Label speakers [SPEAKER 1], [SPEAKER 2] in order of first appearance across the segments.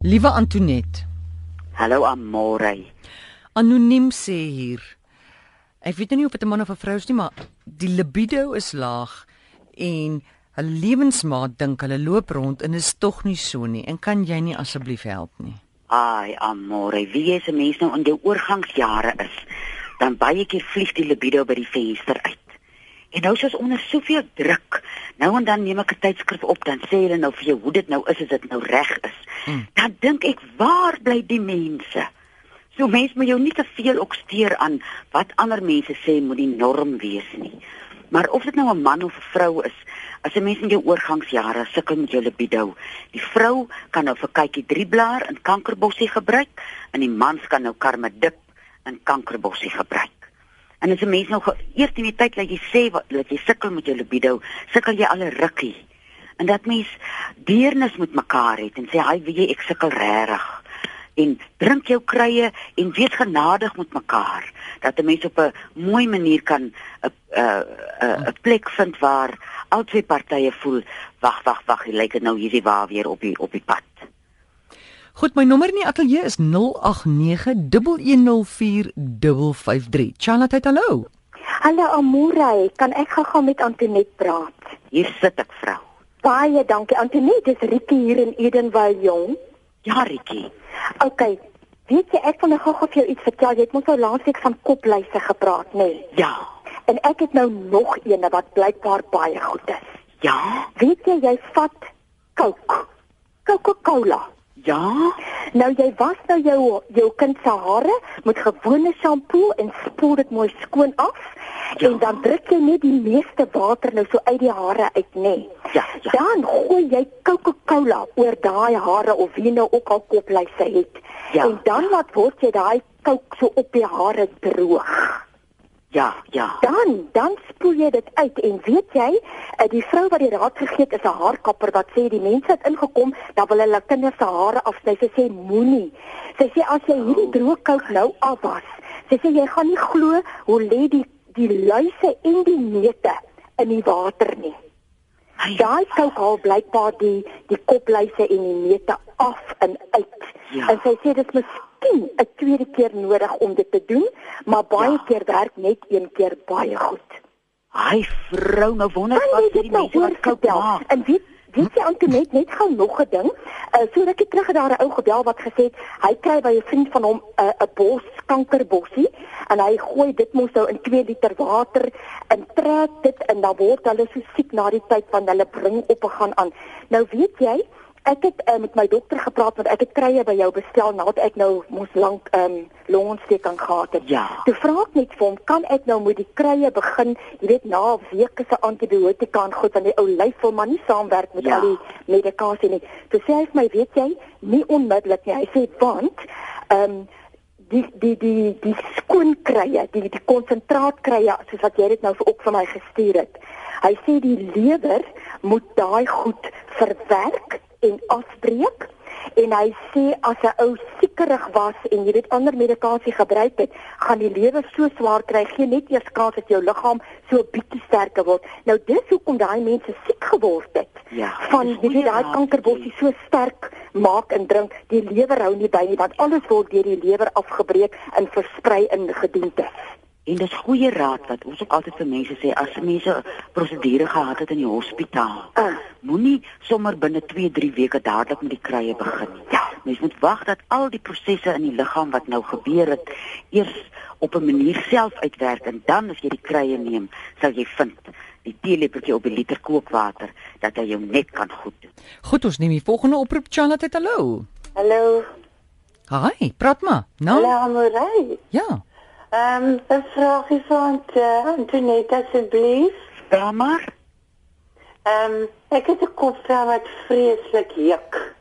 [SPEAKER 1] Liewe Antonet,
[SPEAKER 2] Hallo Amore.
[SPEAKER 1] anoniem sê hier. Ek weet nou nie of dit 'n man of 'n vrou is nie, maar die libido is laag en 'n lewensmaat dink hulle loop rond en is tog nie so nie. En kan jy nie asseblief help nie?
[SPEAKER 2] Ai Amore, wie jy 'n mens nou in jou oorgangsjare is, dan baie keer vlieg die libido by die venster uit. En nou soos onder soveel druk, nou en dan neem ek 'n tydskrif op, dan sê hulle nou vir jou hoe dit nou is as dit nou reg is.
[SPEAKER 1] Mm.
[SPEAKER 2] Dan dink ek, waar bly die mense? So mens moet jou nie te veel ook steur aan wat ander mense sê moet die norm wees nie. Maar of dit nou 'n man of 'n vrou is, as 'n mens in jou oorgangsjare sukkel met jou libido, die vrou kan nou vir kykie drieblaar en kankerbossie gebruik en die mans kan nou karmedip en kankerbossie gebruik. En as 'n mens nou ge- eers in die tyd dat jy sê wat dat jy sukkel met jou libido, sukkel jy al 'n rukkie. En dat mens deernis met mekaar het en sê, "Ai, weet jy, ek sukkel regtig." En drink jou kruie en wees genadig met mekaar dat 'n mens op 'n mooi manier kan 'n 'n 'n 'n plek vind waar albei partye voel, "Wag, wag, wag, hier lyk dit nou hierdie waar weer op die op die pad."
[SPEAKER 1] Goed, my nommer in die ateljee is 0891104553. Charlotte, hallo.
[SPEAKER 3] Hallo Amore, kan ek gou-gou met Antonet praat?
[SPEAKER 2] Hier sit ek, vrou.
[SPEAKER 3] Baie dankie Antonet, dis Rietjie hier in Edenvale jong.
[SPEAKER 2] Ja, Rietjie.
[SPEAKER 3] OK. Weet jy ek wil nou gou-gou vir jou iets vertel. Jy het mos nou laasweek van kopluise gepraat, nê? Nee.
[SPEAKER 2] Ja.
[SPEAKER 3] En ek het nou nog eene wat blykbaar baie goed is.
[SPEAKER 2] Ja.
[SPEAKER 3] Weet jy jy vat Coke. Coca-Cola.
[SPEAKER 2] Ja.
[SPEAKER 3] Nou jy was nou jou jou kind se hare met gewone shampoo en spoel dit mooi skoon af
[SPEAKER 2] Ja.
[SPEAKER 3] ja. en dan druk jy net die meeste water nou so uit die hare uit nê.
[SPEAKER 2] Ja, ja.
[SPEAKER 3] Dan gooi jy Coca-Cola oor daai hare of wie nou ook al koplyse het.
[SPEAKER 2] Ja.
[SPEAKER 3] En dan laat word jy daai Coke so op die hare droog.
[SPEAKER 2] Ja, ja.
[SPEAKER 3] Dan dan spoel jy dit uit en weet jy, eh, die vrou wat die raad gegee het is 'n haarkapper wat sê die mense het ingekom, dan wil hulle kinders se hare afsny. Sy sê moenie. Sy sê as jy
[SPEAKER 2] Oh.
[SPEAKER 3] hierdie droë kout nou afwas, sy sê jy gaan nie glo hoe lê die die luise en die neute in die water nie.
[SPEAKER 2] Ai,
[SPEAKER 3] Daai kout haal blykbaar die die kopluise en die neute af en uit.
[SPEAKER 2] Ja.
[SPEAKER 3] En sy sê dit is miskien 'n tweede keer nodig om dit te doen, maar
[SPEAKER 2] Ja.
[SPEAKER 3] baie ja. keer werk net een keer baie goed.
[SPEAKER 2] Ai, vrou, nou wonder ek
[SPEAKER 3] Kan jy
[SPEAKER 2] wat hierdie
[SPEAKER 3] dit nou
[SPEAKER 2] mense wat koud
[SPEAKER 3] oortel?
[SPEAKER 2] maak.
[SPEAKER 3] En weet weet jy Antonet net gou nog 'n ding. Uh so rukkie terug het daar 'n ou gebel wat gesê het hy kry by 'n vriend van hom 'n uh, 'n bos kankerbossie en hy gooi dit mos nou in 2 liter water en trek dit en dan word hulle so siek na die tyd van hulle bring op en gaan aan. Nou weet jy Ek het uh, met my dokter gepraat want ek het krye by jou bestel nadat ek nou mos lank ehm um, longontsteking gehad het.
[SPEAKER 2] Ja.
[SPEAKER 3] Toe vra ek net vir hom, kan ek nou met die krye begin, jy weet na 'n week se antibiotika en goed want die ou lyf wil maar nie saamwerk met
[SPEAKER 2] Ja.
[SPEAKER 3] al die medikasie nie. Toe sê hy vir my, weet jy, nie onmiddellik nie. Hy sê want ehm um, die die die die skoon krye, die die konsentraat krye soos wat jy dit nou vir ook vir my gestuur het. Hy sê die lewer moet daai goed verwerk en afbreek en hy sê as 'n ou siekerig was en jy weet ander medikasie gebruik het, gaan die lewer so swaar kry, gee net eers kans dat jou liggaam so 'n bietjie sterker word. Nou dis hoekom daai mense siek geword het.
[SPEAKER 2] Ja,
[SPEAKER 3] van
[SPEAKER 2] dis
[SPEAKER 3] jy
[SPEAKER 2] goeie
[SPEAKER 3] weet daai
[SPEAKER 2] raad,
[SPEAKER 3] kankerbossie so sterk maak en drink, die lewer hou nie by nie want alles word deur die lewer afgebreek en versprei in gedoentes.
[SPEAKER 2] En dis goeie raad wat ons ook altyd vir mense sê as mense prosedure gehad het in die hospitaal.
[SPEAKER 3] Ah.
[SPEAKER 2] Moenie sommer binne 2-3 weke dadelik met die krye begin nie.
[SPEAKER 3] Ja.
[SPEAKER 2] Mens moet wag dat al die prosesse in die liggaam wat nou gebeur het eers op 'n manier self uitwerk en dan as jy die krye neem, sal jy vind die teelepeltjie op 'n liter kookwater dat hy jou net kan goed doen.
[SPEAKER 1] Goed, ons neem die volgende oproep. Charlotte, hallo.
[SPEAKER 4] Hallo,
[SPEAKER 1] Hi, praat maar.
[SPEAKER 4] hallo
[SPEAKER 1] Nou,
[SPEAKER 4] Amorey.
[SPEAKER 1] ja.
[SPEAKER 4] Ehm, 'n vraagie van eh, Antoinette asseblief.
[SPEAKER 2] Ja maar.
[SPEAKER 4] Ehm, ek het 'n kopvel wat vreeslik juk.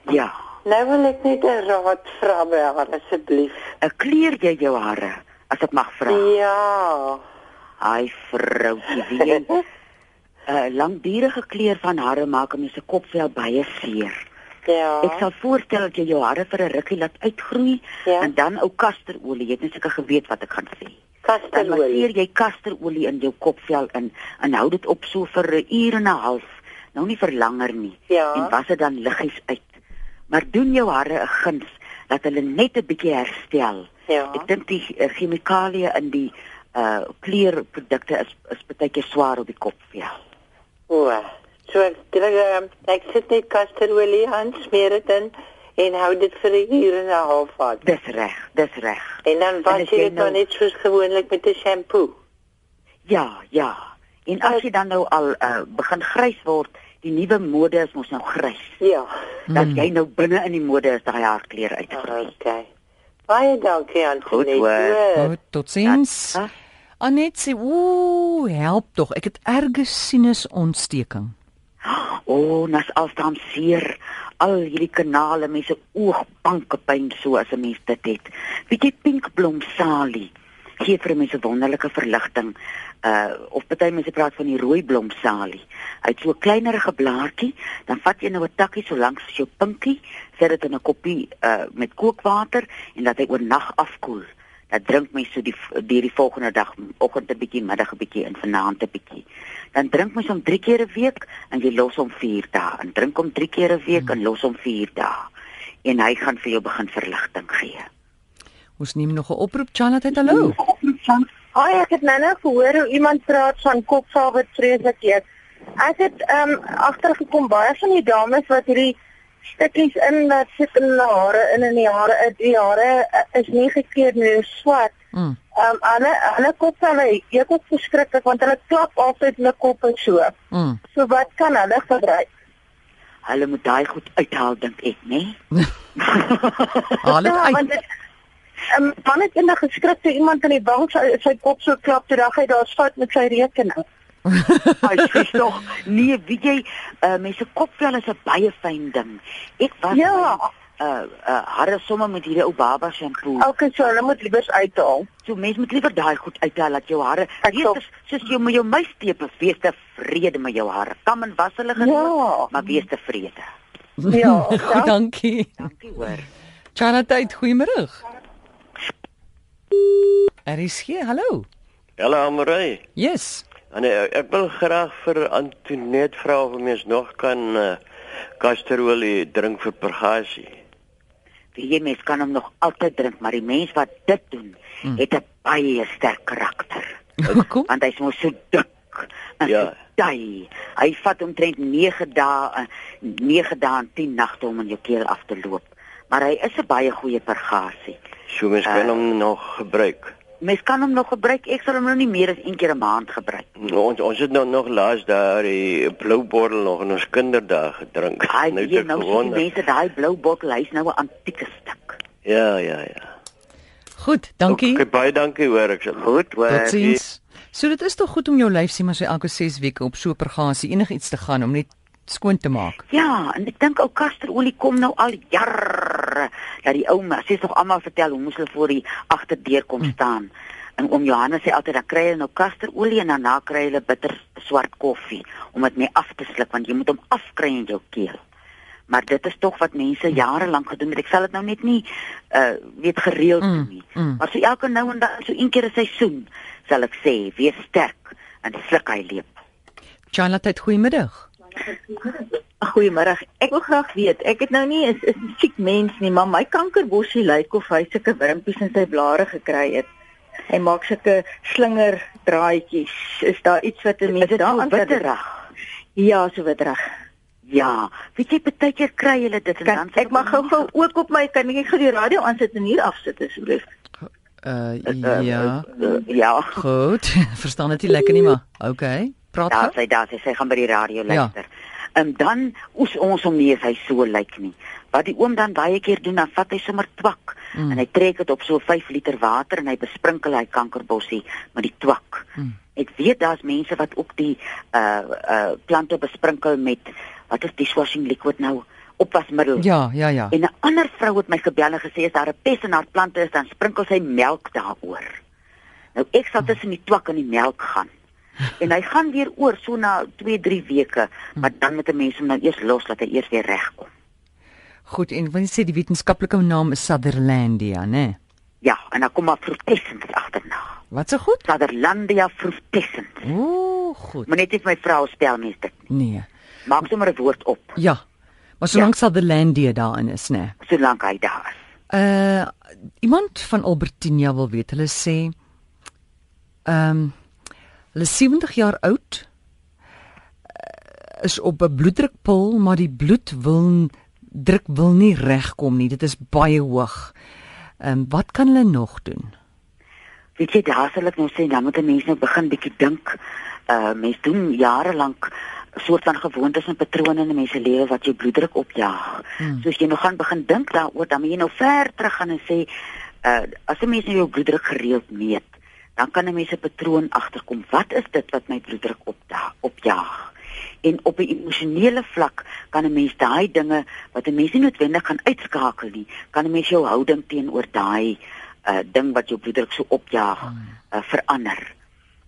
[SPEAKER 2] Ja.
[SPEAKER 4] Nou wil ek net 'n raad vra by haar asseblief.
[SPEAKER 2] Ek Eh, kleur jy jou hare as ek mag vra.
[SPEAKER 4] Ja.
[SPEAKER 2] Ai vroutjie, wie jy 'n uh, langdurige kleur van hare maak om se kopvel baie seer.
[SPEAKER 4] Ja.
[SPEAKER 2] Ek sal voorstel dat jy jou hare vir 'n rukkie laat uitgroei
[SPEAKER 4] Ja.
[SPEAKER 2] en dan ou kasterolie, jy het net seker geweet wat ek gaan sê. Dan
[SPEAKER 4] kastelooi.
[SPEAKER 2] masseer jy kasterolie in jou kopvel in en hou dit op so vir 'n uur en 'n half, nou nie vir langer nie.
[SPEAKER 4] Ja.
[SPEAKER 2] En was dit dan liggies uit. maar doen jou hare 'n guns dat hulle net 'n bietjie herstel.
[SPEAKER 4] Ja.
[SPEAKER 2] Ek dink die uh, chemikalieë in die uh kleurprodukte is is baie keer swaar op die kop ja. vir jou.
[SPEAKER 4] O. So ek drink ehm, ek sit net kasterolie aan, smeer dit in en hou dit vir 'n uur en 'n half aan.
[SPEAKER 2] Dis reg, dis reg.
[SPEAKER 4] En dan was
[SPEAKER 2] En
[SPEAKER 4] jy
[SPEAKER 2] as jy
[SPEAKER 4] dit nou
[SPEAKER 2] nou-
[SPEAKER 4] net soos gewoonlik met 'n shampoo.
[SPEAKER 2] Ja, ja. En as jy dan nou al uh, begin grys word, die nuwe mode is mos nou grys.
[SPEAKER 4] Ja.
[SPEAKER 2] Mm. Dat jy nou binne in die mode is daai haarkleur uitgegroei.
[SPEAKER 4] Okay. Baie dankie aan
[SPEAKER 2] Goed hoor.
[SPEAKER 3] Oh,
[SPEAKER 1] Goed, totsiens.
[SPEAKER 2] Ja.
[SPEAKER 1] Anet sê, "Ooh, help tog, ek het erge sinusontsteking."
[SPEAKER 2] O, oh, nas alstaan seer. Al hierdie kanale, mense oogbanke pyn so as 'n mens dit het. Weet jy pinkblom salie gee vir mense wonderlike verligting. Uh of party mense praat van die rooi blom salie. Hy het so 'n kleinerige blaartjie, dan vat jy nou 'n takkie so lank soos jou pinkie, sit dit in 'n koppie uh met kookwater en laat hy oornag afkoel. Dan drink mens so die deur die volgende dag, oggend 'n bietjie, middag 'n bietjie en vanaand 'n bietjie. Dan drink mens hom 3 keer 'n week en jy los hom 4 dae. En drink hom 3 keer 'n week en los hom 4 dae. En hy gaan vir jou begin verligting gee.
[SPEAKER 1] Ons neem nog 'n oproep. Janet, hallo.
[SPEAKER 5] Hi, ek het nou nou gehoor hoe iemand praat van kopsaal wat vreeslik eet. Ek het ehm um, agtergekom baie van die dames wat hierdie stukkies in wat sit in hulle hare in en die hare uit die hare eh, is nie gekeer nie, hulle is swart.
[SPEAKER 1] Mm.
[SPEAKER 5] Ehm um, hulle hulle kopsaal eet ook verskriklik want hulle klap altyd hulle kop en so.
[SPEAKER 1] Mm.
[SPEAKER 5] So wat kan hulle gebruik?
[SPEAKER 2] Hulle moet daai goed uithaal dink ek, né?
[SPEAKER 1] Haal
[SPEAKER 3] Ja,
[SPEAKER 1] dit uit.
[SPEAKER 5] Ja, dit Um, man het eendag geskrik toe iemand aan die bank sy, sy kop so klap toe daag hy daar's fout met sy rekening.
[SPEAKER 2] Ai, sis tog. Nee, weet jy, uh, mense kopvel is 'n baie fyn ding. Ek was
[SPEAKER 5] Ja.
[SPEAKER 2] my, uh uh harde somme met hierdie ou baba shampoo.
[SPEAKER 5] Elke so hulle moet liewers uithaal.
[SPEAKER 2] So mens moet liever daai goed uithaal dat jou hare
[SPEAKER 5] Ek sal-
[SPEAKER 2] wees soos jy met jou muistepe wees tevrede met jou hare. Kam en was hulle
[SPEAKER 5] Ja.
[SPEAKER 2] maar wees tevrede.
[SPEAKER 5] Ja,
[SPEAKER 1] Goed, dankie.
[SPEAKER 2] Dankie hoor.
[SPEAKER 1] Janet, goeiemôre. Er is hier. Hallo.
[SPEAKER 6] Hallo Amorey.
[SPEAKER 1] Yes.
[SPEAKER 6] Anne, ek wil graag vir Antoinette vra of mens nog kan uh, kasterolie drink vir pergasie.
[SPEAKER 2] Weet jy mens kan hom nog altyd drink, maar die mens wat dit doen, het 'n baie sterk karakter.
[SPEAKER 1] Kom.
[SPEAKER 2] Want hy's mos so dik. en
[SPEAKER 6] Ja.
[SPEAKER 2] so Dai. Hy vat omtrent 9 dae, eh, 9 dae en 10 nagte om in jou keel af te loop. Maar hy is 'n baie goeie pergasie.
[SPEAKER 6] So mens kan
[SPEAKER 2] Ah.
[SPEAKER 6] hom nog gebruik.
[SPEAKER 2] Mens kan hom nog gebruik. Ek sal hom nou nie meer as een keer 'n maand gebruik.
[SPEAKER 6] Ons ons het nou nog laas daar die blou bottel nog in ons kinderdae gedrink.
[SPEAKER 2] Hy
[SPEAKER 6] het
[SPEAKER 2] weet
[SPEAKER 6] ek
[SPEAKER 2] nou sien die
[SPEAKER 6] gewonder.
[SPEAKER 2] mense daai blou bottel, hy's nou 'n antieke stuk.
[SPEAKER 6] Ja, ja, ja.
[SPEAKER 1] Goed, dankie.
[SPEAKER 6] Okay, baie dankie hoor. Ek sal goed hoor.
[SPEAKER 1] Totsiens. So dit is tog goed om jou lyf sien maar so elke 6 weke op so 'n pergasie enigiets te gaan om net skoon te maak.
[SPEAKER 2] Ja, en ek dink ou kasterolie kom nou al jare dat die ou mense nog almal vertel hoe moes hulle voor die agterdeur kom staan. En oom Johannes sê altyd dan kry hulle nou kasterolie en daarna kry hulle bitter swart koffie om dit mee af te sluk want jy moet hom afkry in jou keel. Maar dit is tog wat mense jare lank gedoen het. Ek sal dit nou net nie uh weet gereeld doen nie.
[SPEAKER 1] mm.
[SPEAKER 2] Maar so elke nou en dan so een keer 'n seisoen sal ek sê, wees sterk en sluk hy leep.
[SPEAKER 1] Janet, goeiemiddag.
[SPEAKER 5] Goeiemôre. Ek wil graag weet, ek het nou nie is is 'n siek mens nie, maar my kankerborsie lyk of hy sulke wurmpies in sy blare gekry het. Hy maak sulke slinger draadjies. Is daar iets wat 'n mens
[SPEAKER 2] dit so
[SPEAKER 5] daaraan kan doen?
[SPEAKER 2] witterig?
[SPEAKER 5] Ja, so witterig.
[SPEAKER 2] Ja, weet jy baie keer kry hulle dit en
[SPEAKER 5] Kan
[SPEAKER 2] dan
[SPEAKER 5] ek maar gou-gou ook op my kan ek gou die radio aansit en hier afsit asseblief? Eh,
[SPEAKER 1] Uh ja.
[SPEAKER 2] Uh, ja,
[SPEAKER 1] Goed. Verstaan dit nie lekker nie maar. Okay. Praat
[SPEAKER 2] daar
[SPEAKER 1] gou.
[SPEAKER 2] sy daar sy sy gaan by die radio
[SPEAKER 1] Ja.
[SPEAKER 2] luister. En dan oes ons hom nie as hy so lyk nie. Wat die oom dan baie keer doen, dan vat hy sommer twak mm. en hy trek dit op so 5 liter water en hy besprinkel hy kankerbossie met die twak. Mm. Ek weet daar's mense wat ook die uh uh plante besprinkel met wat is die washing liquid nou? Opwasmiddel.
[SPEAKER 1] Ja, ja, ja.
[SPEAKER 2] En 'n ander vrou het my gebel en gesê as daar 'n pes in haar plante is, dan sprinkel sy melk daaroor. Nou ek sal tussen die twak en die melk gaan. En hy gaan weer oor so na 2-3 weke, maar dan moet 'n mens hom nou eers los dat hy eers weer regkom.
[SPEAKER 1] Goed, en wanneer sê die wetenskaplike naam is Sutherlandia, né?
[SPEAKER 2] Ja, en dan kom maar fruitessens agterna.
[SPEAKER 1] Wat se goed?
[SPEAKER 2] Sutherlandia fruitessens.
[SPEAKER 1] Ooh, goed.
[SPEAKER 2] Moet net nie vir my vrou spel mens dit nie.
[SPEAKER 1] Nee.
[SPEAKER 2] Maak sommer 'n woord op.
[SPEAKER 1] Ja. Maar solank ja. Sutherlandia daarin is, né?
[SPEAKER 2] solank hy daar is.
[SPEAKER 1] Uh iemand van Albertinia wil weet. Hulle sê ehm um, hulle is 70 jaar oud uh, is op 'n bloeddrukpil, maar die bloed wil druk wil nie regkom nie. Dit is baie hoog. Ehm um, wat kan hulle nog doen?
[SPEAKER 2] Weet jy, daar sal ek nou sê dan moet 'n mens nou begin bietjie dink. Uh mense doen jare lank soort van gewoontes en patrone in mense lewe wat jou bloeddruk opjaag. Hmm. So as jy nou gaan begin dink daaroor, dan moet jy nou ver terug gaan en sê uh as 'n mens nou jou bloeddruk gereeld meet, dan kan 'n mens 'n patroon agterkom. Wat is dit wat my bloeddruk opdaag, opjaag? En op 'n emosionele vlak kan 'n mens daai dinge wat 'n mens nie noodwendig kan uitskakel nie, kan 'n mens jou houding teenoor daai uh ding wat jou bloeddruk so opjaag uh, verander.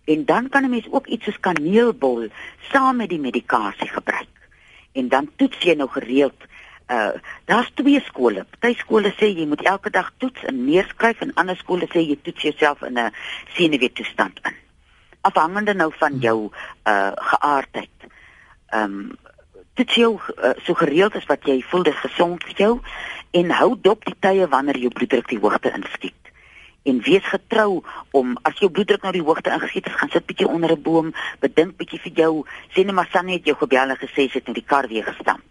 [SPEAKER 2] En dan kan 'n mens ook iets soos kaneelbol saam met die medikasie gebruik. En dan toets jy nou gereeld uh daar's twee skole. Party skole sê jy moet elke dag toets en neerskryf en ander skole sê jy toets jouself in 'n senuweetoestand in. Afhangende nou van jou uh geaardheid. Ehm um, toets jou uh, so gereeld as wat jy voel dis gesond vir jou en hou dop die tye wanneer jou bloeddruk die hoogte inskiet en wees getrou om as jou bloeddruk nou die hoogte ingeskiet het, gaan sit bietjie onder 'n boom, bedink bietjie vir jou. Sê net maar Sanne het jou gebel en gesê sy het in die kar weer gestamp.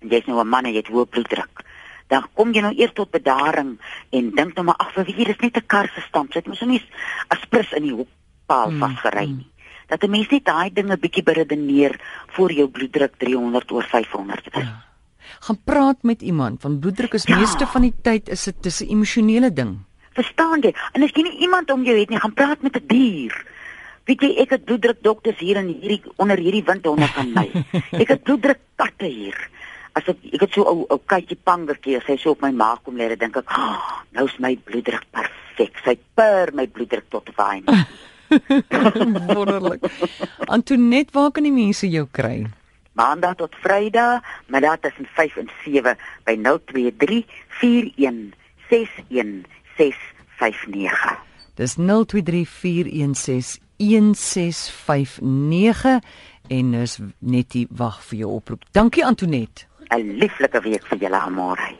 [SPEAKER 2] En jy's nou 'n man en jy het hoë bloeddruk. Dan kom jy nou eers tot bedaring en dink nou maar ag, vir wie is net 'n kar gestamp? Sy het mos so nie aspres in die hoekpaal hmm, vasgery nie. Dat 'n mens net daai dinge bietjie beredeneer voor jou bloeddruk 300 oor 500 is. Ja.
[SPEAKER 1] Gaan praat met iemand want bloeddruk is ja. meeste van die tyd is dit 'n emosionele ding.
[SPEAKER 2] Verstaan jy? En as jy nie iemand om jou het nie, gaan praat met 'n dier. Weet jy, ek het bloeddrukdokters hier in hierdie onder hierdie windhonde van my. Ek het bloeddrukkatte hier. As ek ek het so ou ou katjie pangertjie, sy so op my maag kom lê, dan dink ek, oh, "Nou is my bloeddruk perfek. Sy per my bloeddruk tot wyn."
[SPEAKER 1] Wonderlik. Antoinette, waar kan die mense jou kry?
[SPEAKER 2] Maandag tot Vrydag, middag tussen 5 en 7 by 023 41 61 0659.
[SPEAKER 1] Dis 0234161659 en dis net die wag vir jou oproep. Dankie Antonet.
[SPEAKER 2] 'n Lieflike week vir julle almal.